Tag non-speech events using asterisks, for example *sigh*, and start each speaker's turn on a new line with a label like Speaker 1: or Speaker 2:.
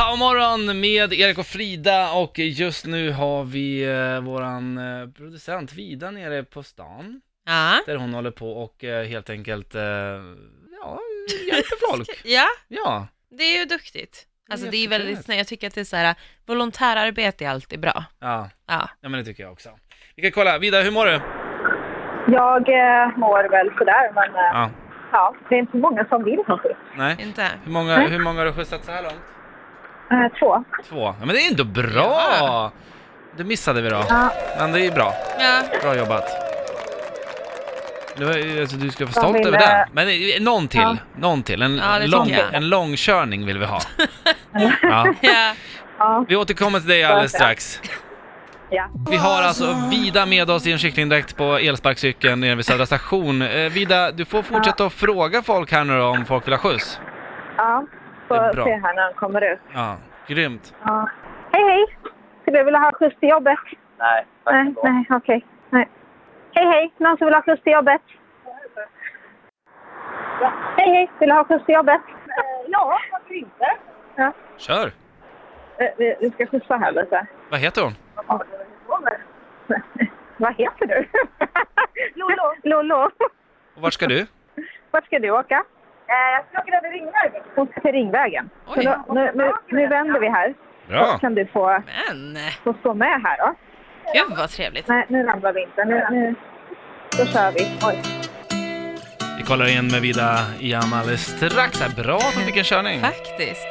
Speaker 1: God morgon med Erik och Frida och just nu har vi eh, våran eh, producent Vida nere på stan
Speaker 2: Ja.
Speaker 1: där hon håller på och eh, helt enkelt eh, ja,
Speaker 2: *laughs*
Speaker 1: hjälper folk.
Speaker 2: ja,
Speaker 1: Ja,
Speaker 2: det är ju duktigt.
Speaker 1: Det är
Speaker 2: Alltså det är
Speaker 1: jättetrevligt.
Speaker 2: väldigt snällt. Jag tycker att det är så här, volontärarbete är alltid bra.
Speaker 1: ja,
Speaker 2: Ja.
Speaker 1: ja men det tycker jag också. Vi kan kolla, Vida hur mår du?
Speaker 3: Jag eh, mår väl sådär, men eh,
Speaker 1: Ja,
Speaker 3: ja, det är inte så många som vill någonting.
Speaker 1: nej.
Speaker 2: Inte?
Speaker 1: Hur många, hur många har du skjutsat så här långt?
Speaker 3: Eh, två.
Speaker 1: Två. Ja men det är ändå bra!
Speaker 2: Ja.
Speaker 1: Det missade vi då,
Speaker 3: Ja.
Speaker 1: men det är bra.
Speaker 2: Ja.
Speaker 1: Bra jobbat. Det var, alltså, du ska vara
Speaker 3: Jag
Speaker 1: stolt
Speaker 3: ville-
Speaker 1: över det. Men eh, någon till.
Speaker 3: Ja.
Speaker 1: Någon till. En,
Speaker 2: Ja, det
Speaker 1: lång,
Speaker 2: tycker jag.
Speaker 1: en långkörning vill vi *laughs* ha. ja.
Speaker 2: Ja.
Speaker 3: Ja.
Speaker 1: Vi återkommer till dig alldeles
Speaker 3: Ja.
Speaker 1: strax.
Speaker 3: ja.
Speaker 1: Vi har alltså Vida med oss i en kycklingdräkt på elsparkcykeln nere vid Södra station. Eh, Vida, du får fortsätta att fråga folk här nu då om folk vill ha skjuts.
Speaker 3: ja.
Speaker 1: Det är
Speaker 3: Får
Speaker 1: bra.
Speaker 3: se här när han kommer ut.
Speaker 1: Ja, grymt.
Speaker 3: Ja. Hej, hej! Skulle du vilja ha skjuts till jobbet?
Speaker 4: Nej, tack
Speaker 3: Nej,
Speaker 4: ändå.
Speaker 3: nej, okej. Nej. Hej, hej! Någon som vill ha skjuts till jobbet? Hej, hej! Vill du ha skjuts till jobbet? Eh, Ja, varför inte? Ja.
Speaker 1: Kör!
Speaker 3: Eh, Vi, vi ska skjutsa här lite.
Speaker 1: Vad heter hon?
Speaker 3: Ja. *laughs* Vad heter du? Lollo. *laughs* Lollo.
Speaker 1: Och vart ska du?
Speaker 3: Vart ska du åka? Eh, Jag ska åka till Ringvägen. Hon ska till Ringvägen. Så
Speaker 2: Oj.
Speaker 3: då, nu, nu, nu vänder vi här.
Speaker 1: Bra!
Speaker 3: Så kan du få,
Speaker 2: Men,
Speaker 3: få stå med här då.
Speaker 2: gud vad trevligt.
Speaker 3: Nej, nu ramlar vi inte. Nu, nu. Då kör vi. Oj.
Speaker 1: Vi kollar in med Vida igen alldeles strax. Här, Bra att hon fick en körning.
Speaker 2: Faktiskt.